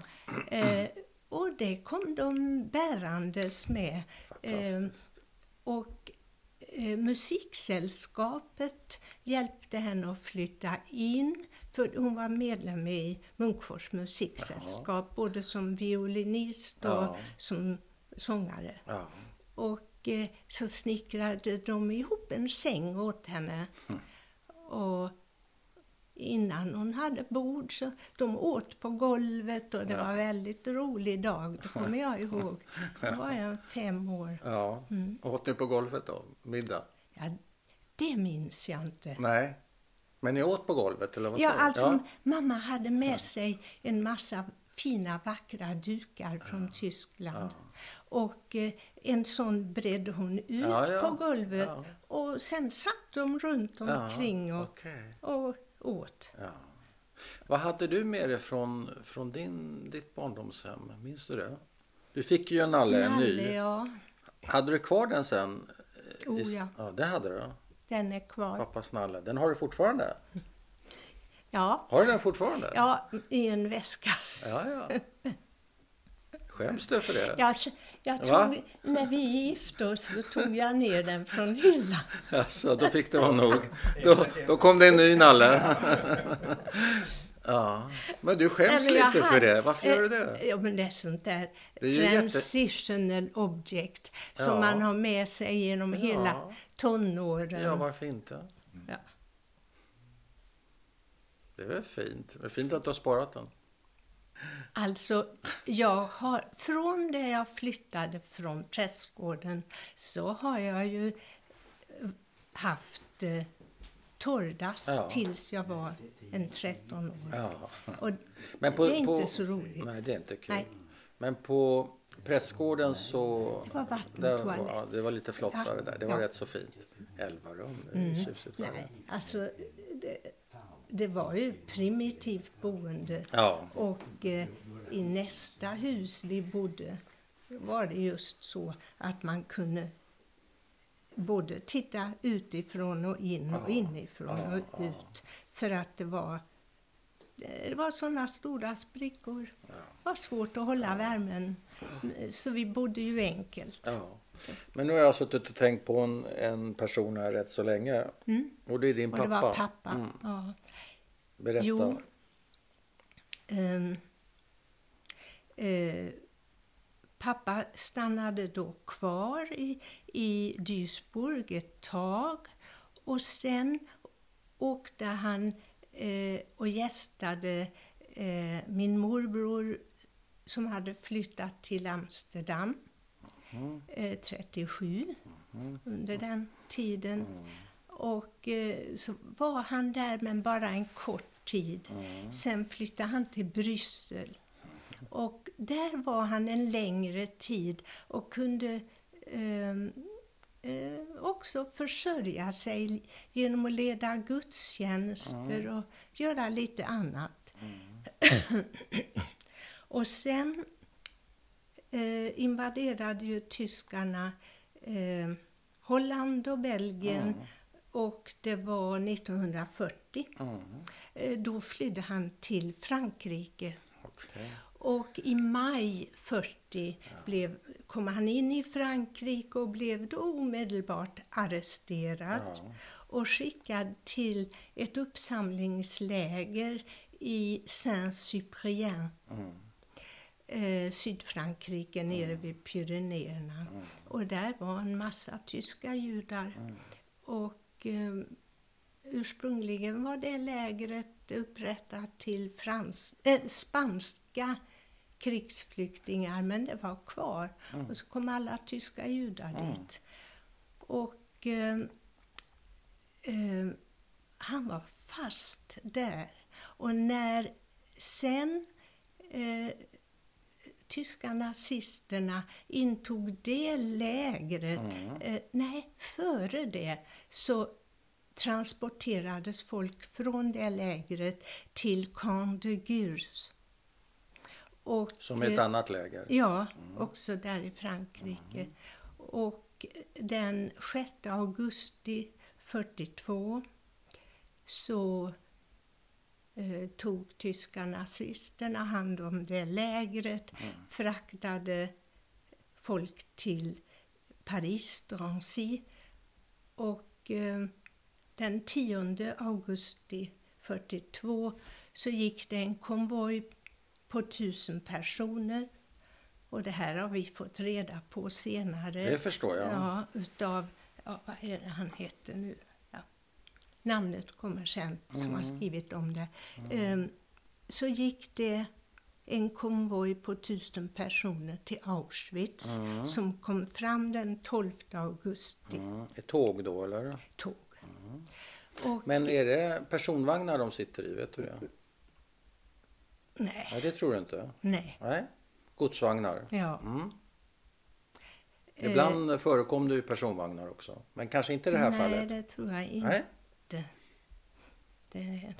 A: Eh, och det kom de bärandes med. Eh,
B: fantastiskt.
A: och eh, musiksällskapet hjälpte henne att flytta in, För hon var medlem i Munkfors musiksällskap, både som violinist och
B: Ja.
A: som sångare.
B: Ja.
A: Och eh, så snickrade de ihop en säng åt henne. Och innan hon hade bord så de åt på golvet och det var en väldigt rolig dag, det kommer jag ihåg. Då var jag fem år.
B: ja.
A: Mm.
B: Åt ni på golvet då? Middag?
A: Ja, det minns jag inte.
B: Nej. Men ni åt på golvet eller vad
A: Ja,
B: sa du?
A: alltså mamma hade med sig en massa fina vackra dukar från Tyskland. Och eh, en sån bredde hon ut
B: Ja, ja.
A: på golvet
B: Ja.
A: och sen satt de runt
B: Ja,
A: omkring och,
B: okej.
A: och åt.
B: Ja. Vad hade du med dig från, från din, ditt barndomshem? Minns du det? Du fick ju en nalle, en ny.
A: ja.
B: Hade du kvar den sen? I-
A: Oh, ja.
B: ja. Det hade du?
A: Den är kvar.
B: Pappas nalle. Den har du fortfarande?
A: Ja,
B: Har du den fortfarande?
A: ja i en väska.
B: ja,
A: <laughs>
B: ja. Skäms du för det?
A: Jag, jag
B: Va?
A: tog, när vi gifte oss så tog jag ner den från hyllan.
B: Alltså, då fick det vara nog. Då, då kom det en ny nalle. Ja. Men du
A: Nej,
B: skäms
A: men jag
B: lite för
A: hade-
B: det. Varför gör du
A: Eh,
B: det?
A: Ja, men det är sånt där
B: Det är ju jätte-
A: transitional object som
B: Ja.
A: man har med sig genom hela
B: Ja.
A: tonåren.
B: Ja, varför inte?
A: Ja.
B: Det är väl fint. Det är fint att du har sparat den.
A: Alltså, jag har, från det jag flyttade från prästgården så har jag ju eh, haft eh, torrdass
B: Ja.
A: tills jag var en 13 år.
B: Ja.
A: Och
B: Men på,
A: det är inte
B: på,
A: så roligt.
B: Nej, det är inte kul.
A: Nej.
B: Men på prästgården så...
A: Det var vatten-
B: där var,
A: toalett.
B: ja, det var lite flottare där. Det var
A: Ja. Mm.
B: rätt så fint. Elva rum. Det är ju tjusigt. var det.
A: Nej, alltså det, det var ju primitivt boende.
B: Ja.
A: Och eh, i nästa hus vi bodde var det just så att man kunde både titta utifrån och in
B: Ah,
A: och inifrån och ut. För att det var, det var sådana stora sprickor. Det var svårt att hålla värmen. Så vi bodde ju enkelt.
B: Ja. Men nu har jag suttit och tänkt på en, en person här rätt så länge. Och det är din
A: Mm. Och det
B: pappa. Mm.
A: var pappa. Ja.
B: Berätta.
A: Jo. Ehm, eh, pappa stannade då kvar i, i Duisburg ett tag och sen åkte han eh, och gästade eh, min morbror som hade flyttat till Amsterdam eh, 37 under den tiden. Och eh, så var han där, men bara en kort tid. Sen flyttade han till Bryssel. Och där var han en längre tid och kunde ehm, eh, också försörja sig genom att leda gudstjänster och göra lite annat. <coughs> och sen eh, invaderade ju tyskarna eh, Holland och Belgien och det var 1940. Eh, då flydde han till Frankrike.
B: Okej.
A: Och i maj 40 blev, kom han in i Frankrike och blev då omedelbart arresterad och skickad till ett uppsamlingsläger i Saint-Cyprien, eh, Sydfrankrike, nere vid Pyrenéerna. Och där var en massa tyska judar. Och, eh, Ursprungligen var det lägret upprättat till frans, eh, spanska krigsflyktingar, men det var kvar. Och så kom alla tyska judar dit. Och eh, eh, han var fast där. Och när sen eh, tyska nazisterna intog det lägret,
B: Mm.
A: eh, nej, före det, så transporterades folk från det lägret till Camp de Gurs. Och,
B: Som i ett
A: eh,
B: annat läger.
A: Ja, också där i Frankrike. Och den 6 augusti 42 så eh, tog tyska nazisterna hand om det lägret, fraktade folk till Paris, Drancy. Och eh, den 10 augusti 42 så gick det en konvoj på tusen personer. Och det här har vi fått reda på senare.
B: Det förstår jag.
A: Ja, utav, ja, vad är det han hette nu? Ja. Namnet kommer sen, som
B: Mm.
A: har skrivit om det. Ehm, så gick det en konvoj på tusen personer till Auschwitz som kom fram den 12 augusti.
B: Mm. Ett tåg då eller?
A: Tåg. Och,
B: Men är det personvagnar de sitter i? Vet du det?
A: nej,
B: Nej, det tror du inte?
A: nej.
B: Nej, godsvagnar.
A: Ja. Eh.
B: Mm. Ibland förekom det ju personvagnar också. Men kanske inte i det här
A: nej,
B: fallet.
A: det tror jag inte.
B: Nej.
A: Det är.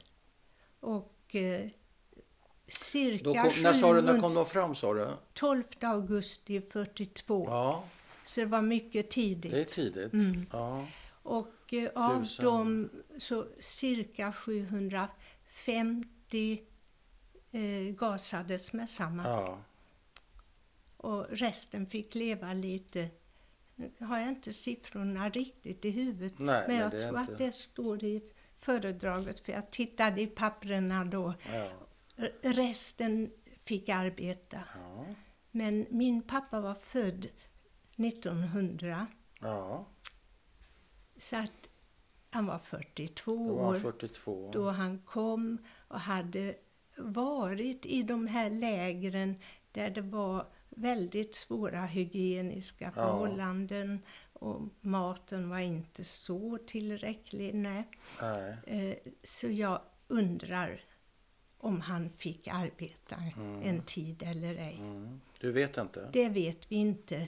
A: Och eh, cirka
B: Då kom, när, sa du, när
A: 700
B: kom de fram sa du?
A: 12 augusti 42.
B: Ja,
A: Så det var mycket tidigt.
B: det är tidigt.
A: Mm.
B: Ja.
A: Och eh, av
B: Tusen.
A: dem så cirka 750 eh, gasades med samma.
B: Ja.
A: Och resten fick leva lite. Nu har jag inte siffrorna riktigt i huvudet.
B: Nej,
A: men
B: men
A: jag
B: det är
A: tror
B: inte-
A: att det står i föredraget. För jag tittade i papperna då.
B: Ja.
A: R- Resten fick arbeta.
B: Ja.
A: Men min pappa var född 1900.
B: ja,
A: Så att han var 42
B: då var han
A: år
B: 42.
A: då han kom och hade varit i de här lägren där det var väldigt svåra hygieniska förhållanden och maten var inte så tillräcklig. Nej.
B: Nej.
A: Eh, Så jag undrar om han fick arbeta en tid eller ej.
B: Mm. Du vet inte?
A: Det vet vi inte.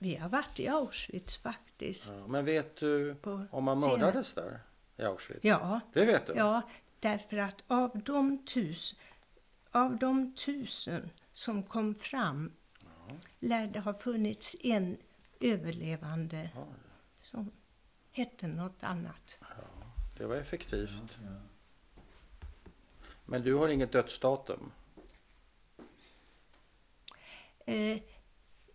A: Vi har varit i Auschwitz faktiskt.
B: Ja. Men vet du
A: På
B: om man
A: senare-
B: mördades där i Auschwitz?
A: Ja,
B: Det vet du?
A: ja, därför att av de, tus, av de tusen som kom fram lär det ha funnits en överlevande som hette något annat.
B: Det var effektivt. Men du har inget dödsdatum?
A: Eh,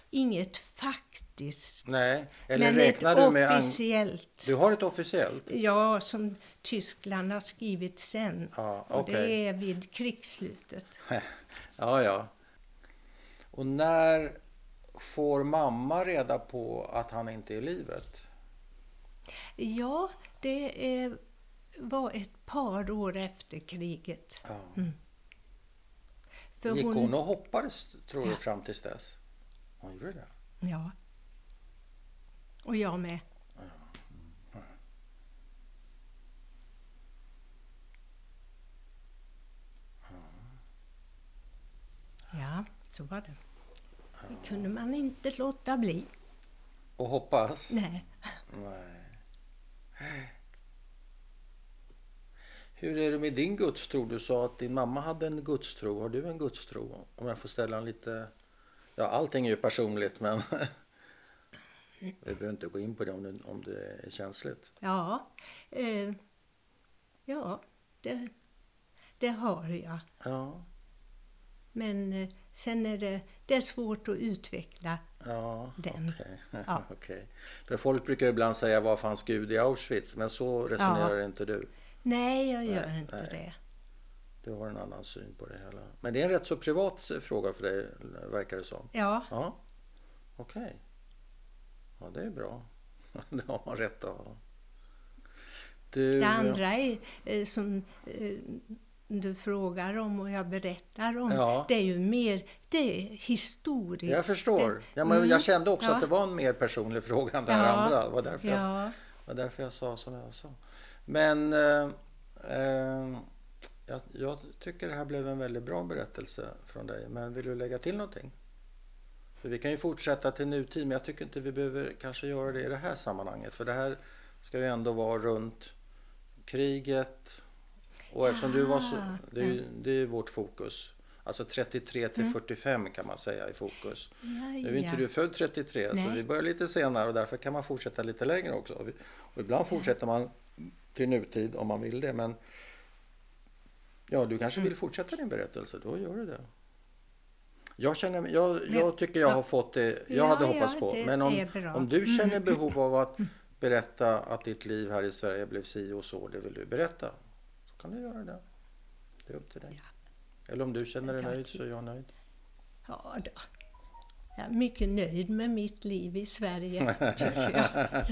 A: inget faktiskt,
B: Nej. Eller
A: men
B: räknar
A: ett
B: du med... ang-
A: officiellt.
B: Du har ett officiellt? <laughs>
A: Ja, som Tyskland har skrivit sen.
B: Ja,
A: Och
B: okej.
A: det är vid krigsslutet.
B: Ja, ja. Och när får mamma reda på att han inte är i livet?
A: Ja, det eh, var ett par år efter kriget. Mm.
B: Ja.
A: För
B: Gick hon och hoppades, tror du, fram tills dess? Hon gjorde det?
A: Ja. Och jag med. Ja, så var det. Det kunde man inte låta bli.
B: Och hoppas?
A: Nej.
B: Nej. Hur är det med din gudstro? Du sa att din mamma hade en gudstro. Har du en gudstro? Om jag får ställa en lite... Ja, allting är ju personligt, men... Vi behöver inte gå in på det om det, om det är känsligt.
A: Ja, eh, ja det, det har jag.
B: Ja,
A: Men eh, sen är det, det är svårt att utveckla.
B: ja,
A: Den.
B: okej.
A: Ja.
B: <laughs> Okej. För folk brukar ju ibland säga var fanns Gud i Auschwitz? Men så resonerar inte du.
A: Nej, jag gör
B: Nej,
A: inte
B: nej.
A: det.
B: Du har en annan syn på det hela. Men det är en rätt så privat eh, fråga för dig, verkar det som.
A: Ja,
B: Ja, okej. Ja, det är bra. <laughs> Det har man rätt att ha. Du,
A: det andra är, eh, som eh, du frågar om och jag berättar om,
B: Ja.
A: det är ju mer det är historiskt.
B: Jag förstår. Ja, men
A: Mm,
B: jag kände också
A: ja.
B: att det var en mer personlig fråga än det här
A: Ja.
B: andra. Det var därför, jag,
A: Ja,
B: det var därför jag sa som jag sa. Men eh, eh, jag, jag tycker det här blev en väldigt bra berättelse från dig. Men vill du lägga till någonting? För vi kan ju fortsätta till nutid, men jag tycker inte vi behöver kanske göra det i det här sammanhanget. För det här ska ju ändå vara runt kriget. Och eftersom du var så...
A: Ah,
B: Det är ju det är ju vårt fokus. Alltså 33 till 45 kan man säga i fokus. Nu är inte
A: ja.
B: du född 33, så
A: Nej.
B: vi börjar lite senare och därför kan man fortsätta lite längre också. Och vi- Och ibland fortsätter man till nutid om man vill det, men ja, du kanske
A: Mm.
B: vill fortsätta din berättelse, då gör du det. Jag, känner, mig- jag, jag tycker jag har fått det jag
A: Ja,
B: hade
A: ja,
B: hoppats på.
A: det
B: Men om,
A: är bra. Mm.
B: om du känner behov av att berätta att ditt liv här i Sverige blev si och så, det vill du berätta. Så kan du göra det. Det är upp till dig. Eller om du känner dig
A: Tack.
B: nöjd så är jag nöjd.
A: Ja, då. Jag är mycket nöjd med mitt liv i
B: <laughs>
A: Sverige, tycker jag.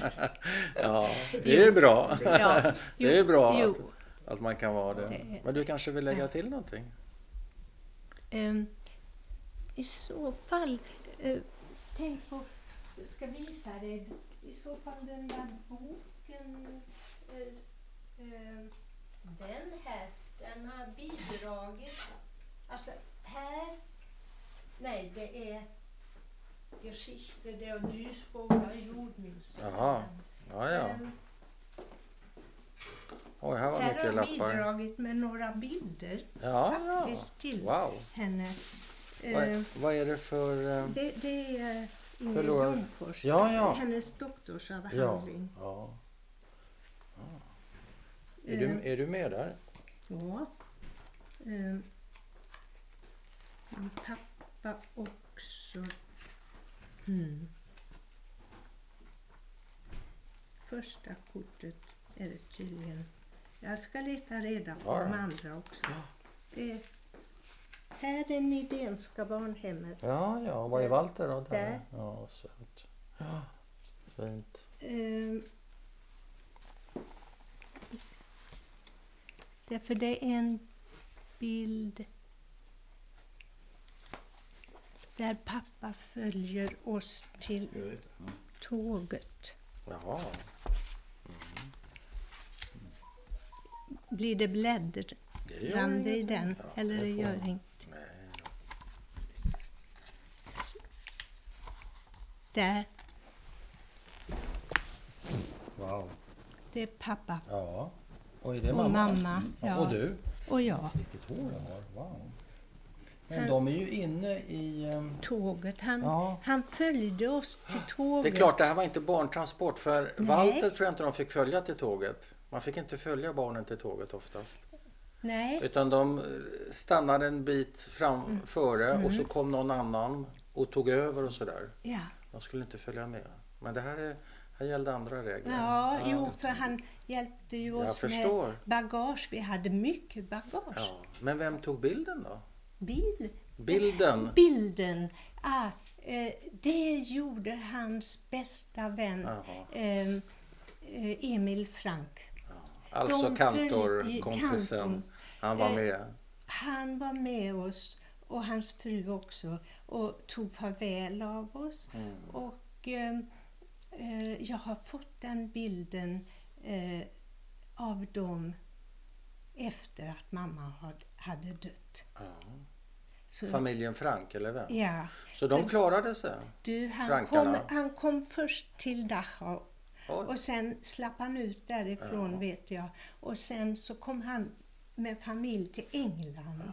B: ja, det är ju bra.
A: Ja,
B: Det är bra
A: Jo,
B: att, att man kan vara det.
A: Det-
B: Men du kanske vill lägga
A: Ja.
B: till någonting?
A: Ehm, I så fall, eh, tänk på, jag ska visa dig, i så fall den där boken, eh, s- ehm, den här, den har bidragit. Alltså här, nej det är Geschichte der Duisburger Jordmusik.
B: Jaha, Ja, ja.
A: Ehm,
B: Oj, här var
A: Här har
B: mycket
A: jag
B: lappar. Ah,
A: bidragit med några bilder
B: Ja, ja.
A: faktiskt till
B: Wow.
A: henne. Ehm,
B: Vad, vad är det för... eh,
A: Det, det är Ingrid
B: Förlåt.
A: Jonfors,
B: Ja, ja.
A: hennes doktorsavhandling.
B: ja. Är, du,
A: Eh,
B: är du med där?
A: ja. Eh, min pappa också. Mm. Första kortet är det tydligen. Jag ska leta reda på
B: Ja, ja.
A: de andra också. Eh, här är Nidénska barnhemmet.
B: Ja, ja. Vad är Walter då?
A: Där.
B: Ja, söt. Ja, fint.
A: Ehm. Därför det är en bild där pappa följer oss till
C: Jag vet. Ja.
A: tåget.
B: Jaha.
A: Blir det bläddrande
B: Det gör inget.
A: i den?
B: Ja,
A: Eller
B: det
A: det
B: får
A: gör
B: man.
A: inget.
B: Nej.
A: Där,
B: Wow.
A: det är pappa
B: Ja. Oj, det är
A: och
B: mamma.
A: mamma.
B: Ja. Och du.
A: Och jag.
B: Vilket hår du har. Wow. Men de är ju inne i... ehm,
A: Tåget. Han,
B: Ja.
A: han följde oss till
B: Det
A: tåget.
B: är klart, det här var inte barntransport. För
A: Nej.
B: Walter tror jag inte de fick följa till tåget. Man fick inte följa barnen till tåget oftast.
A: Nej,
B: Utan de eh, stannade en bit framföre och så kom någon annan och tog över och sådär.
A: ja.
B: De skulle inte följa med. Men det här, är, här gällde andra regler.
A: Ja, jo, för han hjälpte ju
B: Jag
A: oss
B: förstår.
A: med bagage. Vi hade mycket bagage.
B: Ja. Men vem tog bilden då?
A: Bil.
B: Bilden?
A: Bilden. Ah, eh, det gjorde hans bästa vän
B: Jaha.
A: eh, eh, Emil Frank.
B: Alltså
A: De
B: kantorkompisen.
A: följde-
B: Han var
A: Eh,
B: med.
A: Han var med oss och hans fru också och tog farväl av oss. Och eh, eh, jag har fått den bilden eh, av dem efter att mamma had, hade dött. Så,
B: Familjen Frank, eller vem?
A: ja,
B: Så de klarade sig?
A: du, han, kom,
B: Frankarna.
A: han kom först till Dachau
B: Oj.
A: och sen slapp han ut därifrån vet jag. Och sen så kom han med familj till England.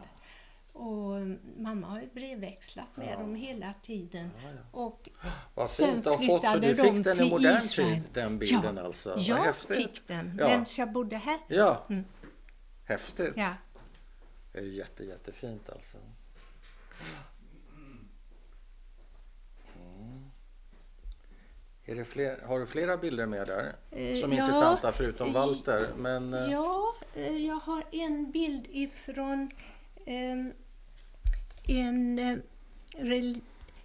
A: Och mm, mamma har ju brevväxlat med dem hela tiden. Och
B: Vad
A: sen
B: fint. Du har fått, så
A: flyttade
B: du
A: de
B: fick den i
A: till
B: modern
A: Israel.
B: tid, den bilden alltså? Vad
A: jag
B: häftigt.
A: fick den
B: Ja.
A: medan jag bodde här.
B: Ja. Häftigt.
A: Ja.
B: Det är ju jätte, jättefint alltså. Mm. Är det fler, har du flera bilder med där?
A: Eh,
B: Som är
A: ja.
B: intressanta förutom
A: I-
B: Walter. Men, eh,
A: Ja, eh, jag har en bild ifrån ehm, en... eh, rel-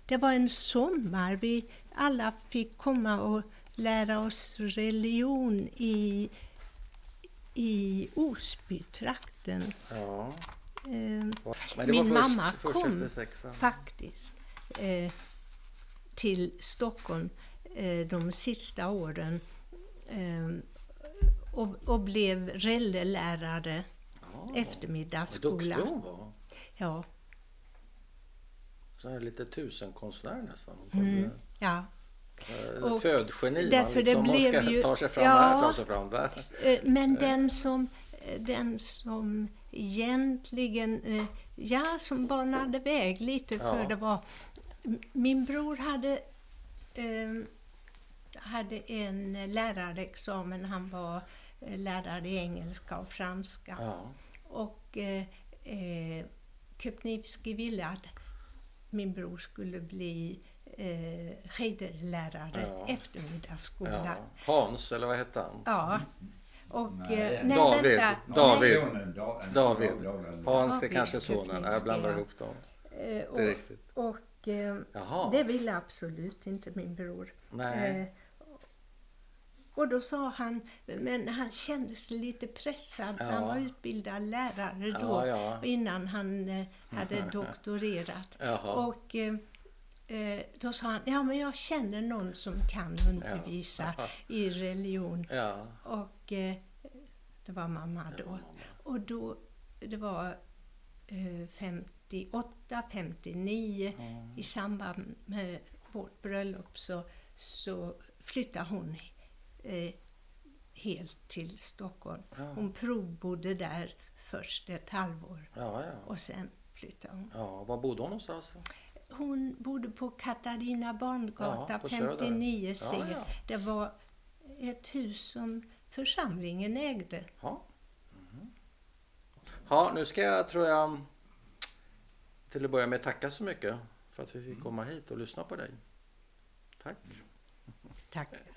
A: Det var en sommar. Vi alla fick komma och lära oss religion i, i Osbytrakten.
B: ja.
A: Ehm,
B: men det
A: Min
B: var först,
A: mamma
B: först
A: kom
B: efter sexan.
A: faktiskt eh, till Stockholm eh, de sista åren eh, och, och blev rellelärare
B: Vad duktig
A: eftermiddagsskola.
B: hon var.
A: Ja,
B: Så här lite tusenkonstnär nästan. Hon
A: mm,
B: kunde,
A: ja.
B: eh,
A: Och
B: Födgeni.
A: därför det
B: man liksom, hon
A: blev
B: ska
A: ju-
B: ta sig fram
A: Ja.
B: här, ta sig fram där.
A: Eh, Men den som, eh, den som egentligen eh, ja, som banade väg lite för
B: Ja.
A: det var... m- Min bror hade, eh, hade en lärarexamen. Han var eh, lärare i engelska och franska.
B: Ja.
A: Och eh, eh, Kupnivski ville att min bror skulle bli eh, skidlärare,
B: Ja.
A: eftermiddagsskola.
B: Ja. Hans, eller vad hette han?
A: Ja, Och,
C: Nej.
A: eh, nej,
B: David.
A: Vänta.
B: David.
C: Sonen, Da-
B: David.
C: David.
B: Hans är
A: David,
B: kanske sonen.
A: precis,
B: Jag blandar
A: ja.
B: ihop dem.
A: Nej, eh,
B: Det är
A: och,
B: riktigt.
A: och eh,
B: Jaha.
A: det ville absolut inte min bror.
B: Nej.
A: Eh, och då sa han, men han kände sig lite pressad.
B: Ja.
A: Han var utbildad lärare eh, då,
B: Ja, ja.
A: innan han eh,
B: <laughs>
A: hade doktorerat.
B: Jaha.
A: Och eh, eh, då sa han, ja men jag känner någon som kan undervisa i religion.
B: Ja.
A: Och eh, det var mamma då. Och då, det var eh, 58, 59
B: Mm.
A: i samband med vårt bröllop så, så flyttade hon eh, helt till Stockholm. Hon provbodde där först ett halvår
B: Ja, ja.
A: och sen flyttade hon.
B: ja, var bodde hon någonstans?
A: Hon bodde på Katarina
B: Ja,
A: Barngata
B: på Söder.
A: 59
B: Ja,
A: C.
B: ja.
A: Det var ett hus som församlingen ägde.
B: Ja. Mhm. Ja, nu ska jag, tror jag, till att börja med tacka
A: Mm.
B: så mycket för att vi fick komma hit och lyssna på dig. Tack.
A: Tack.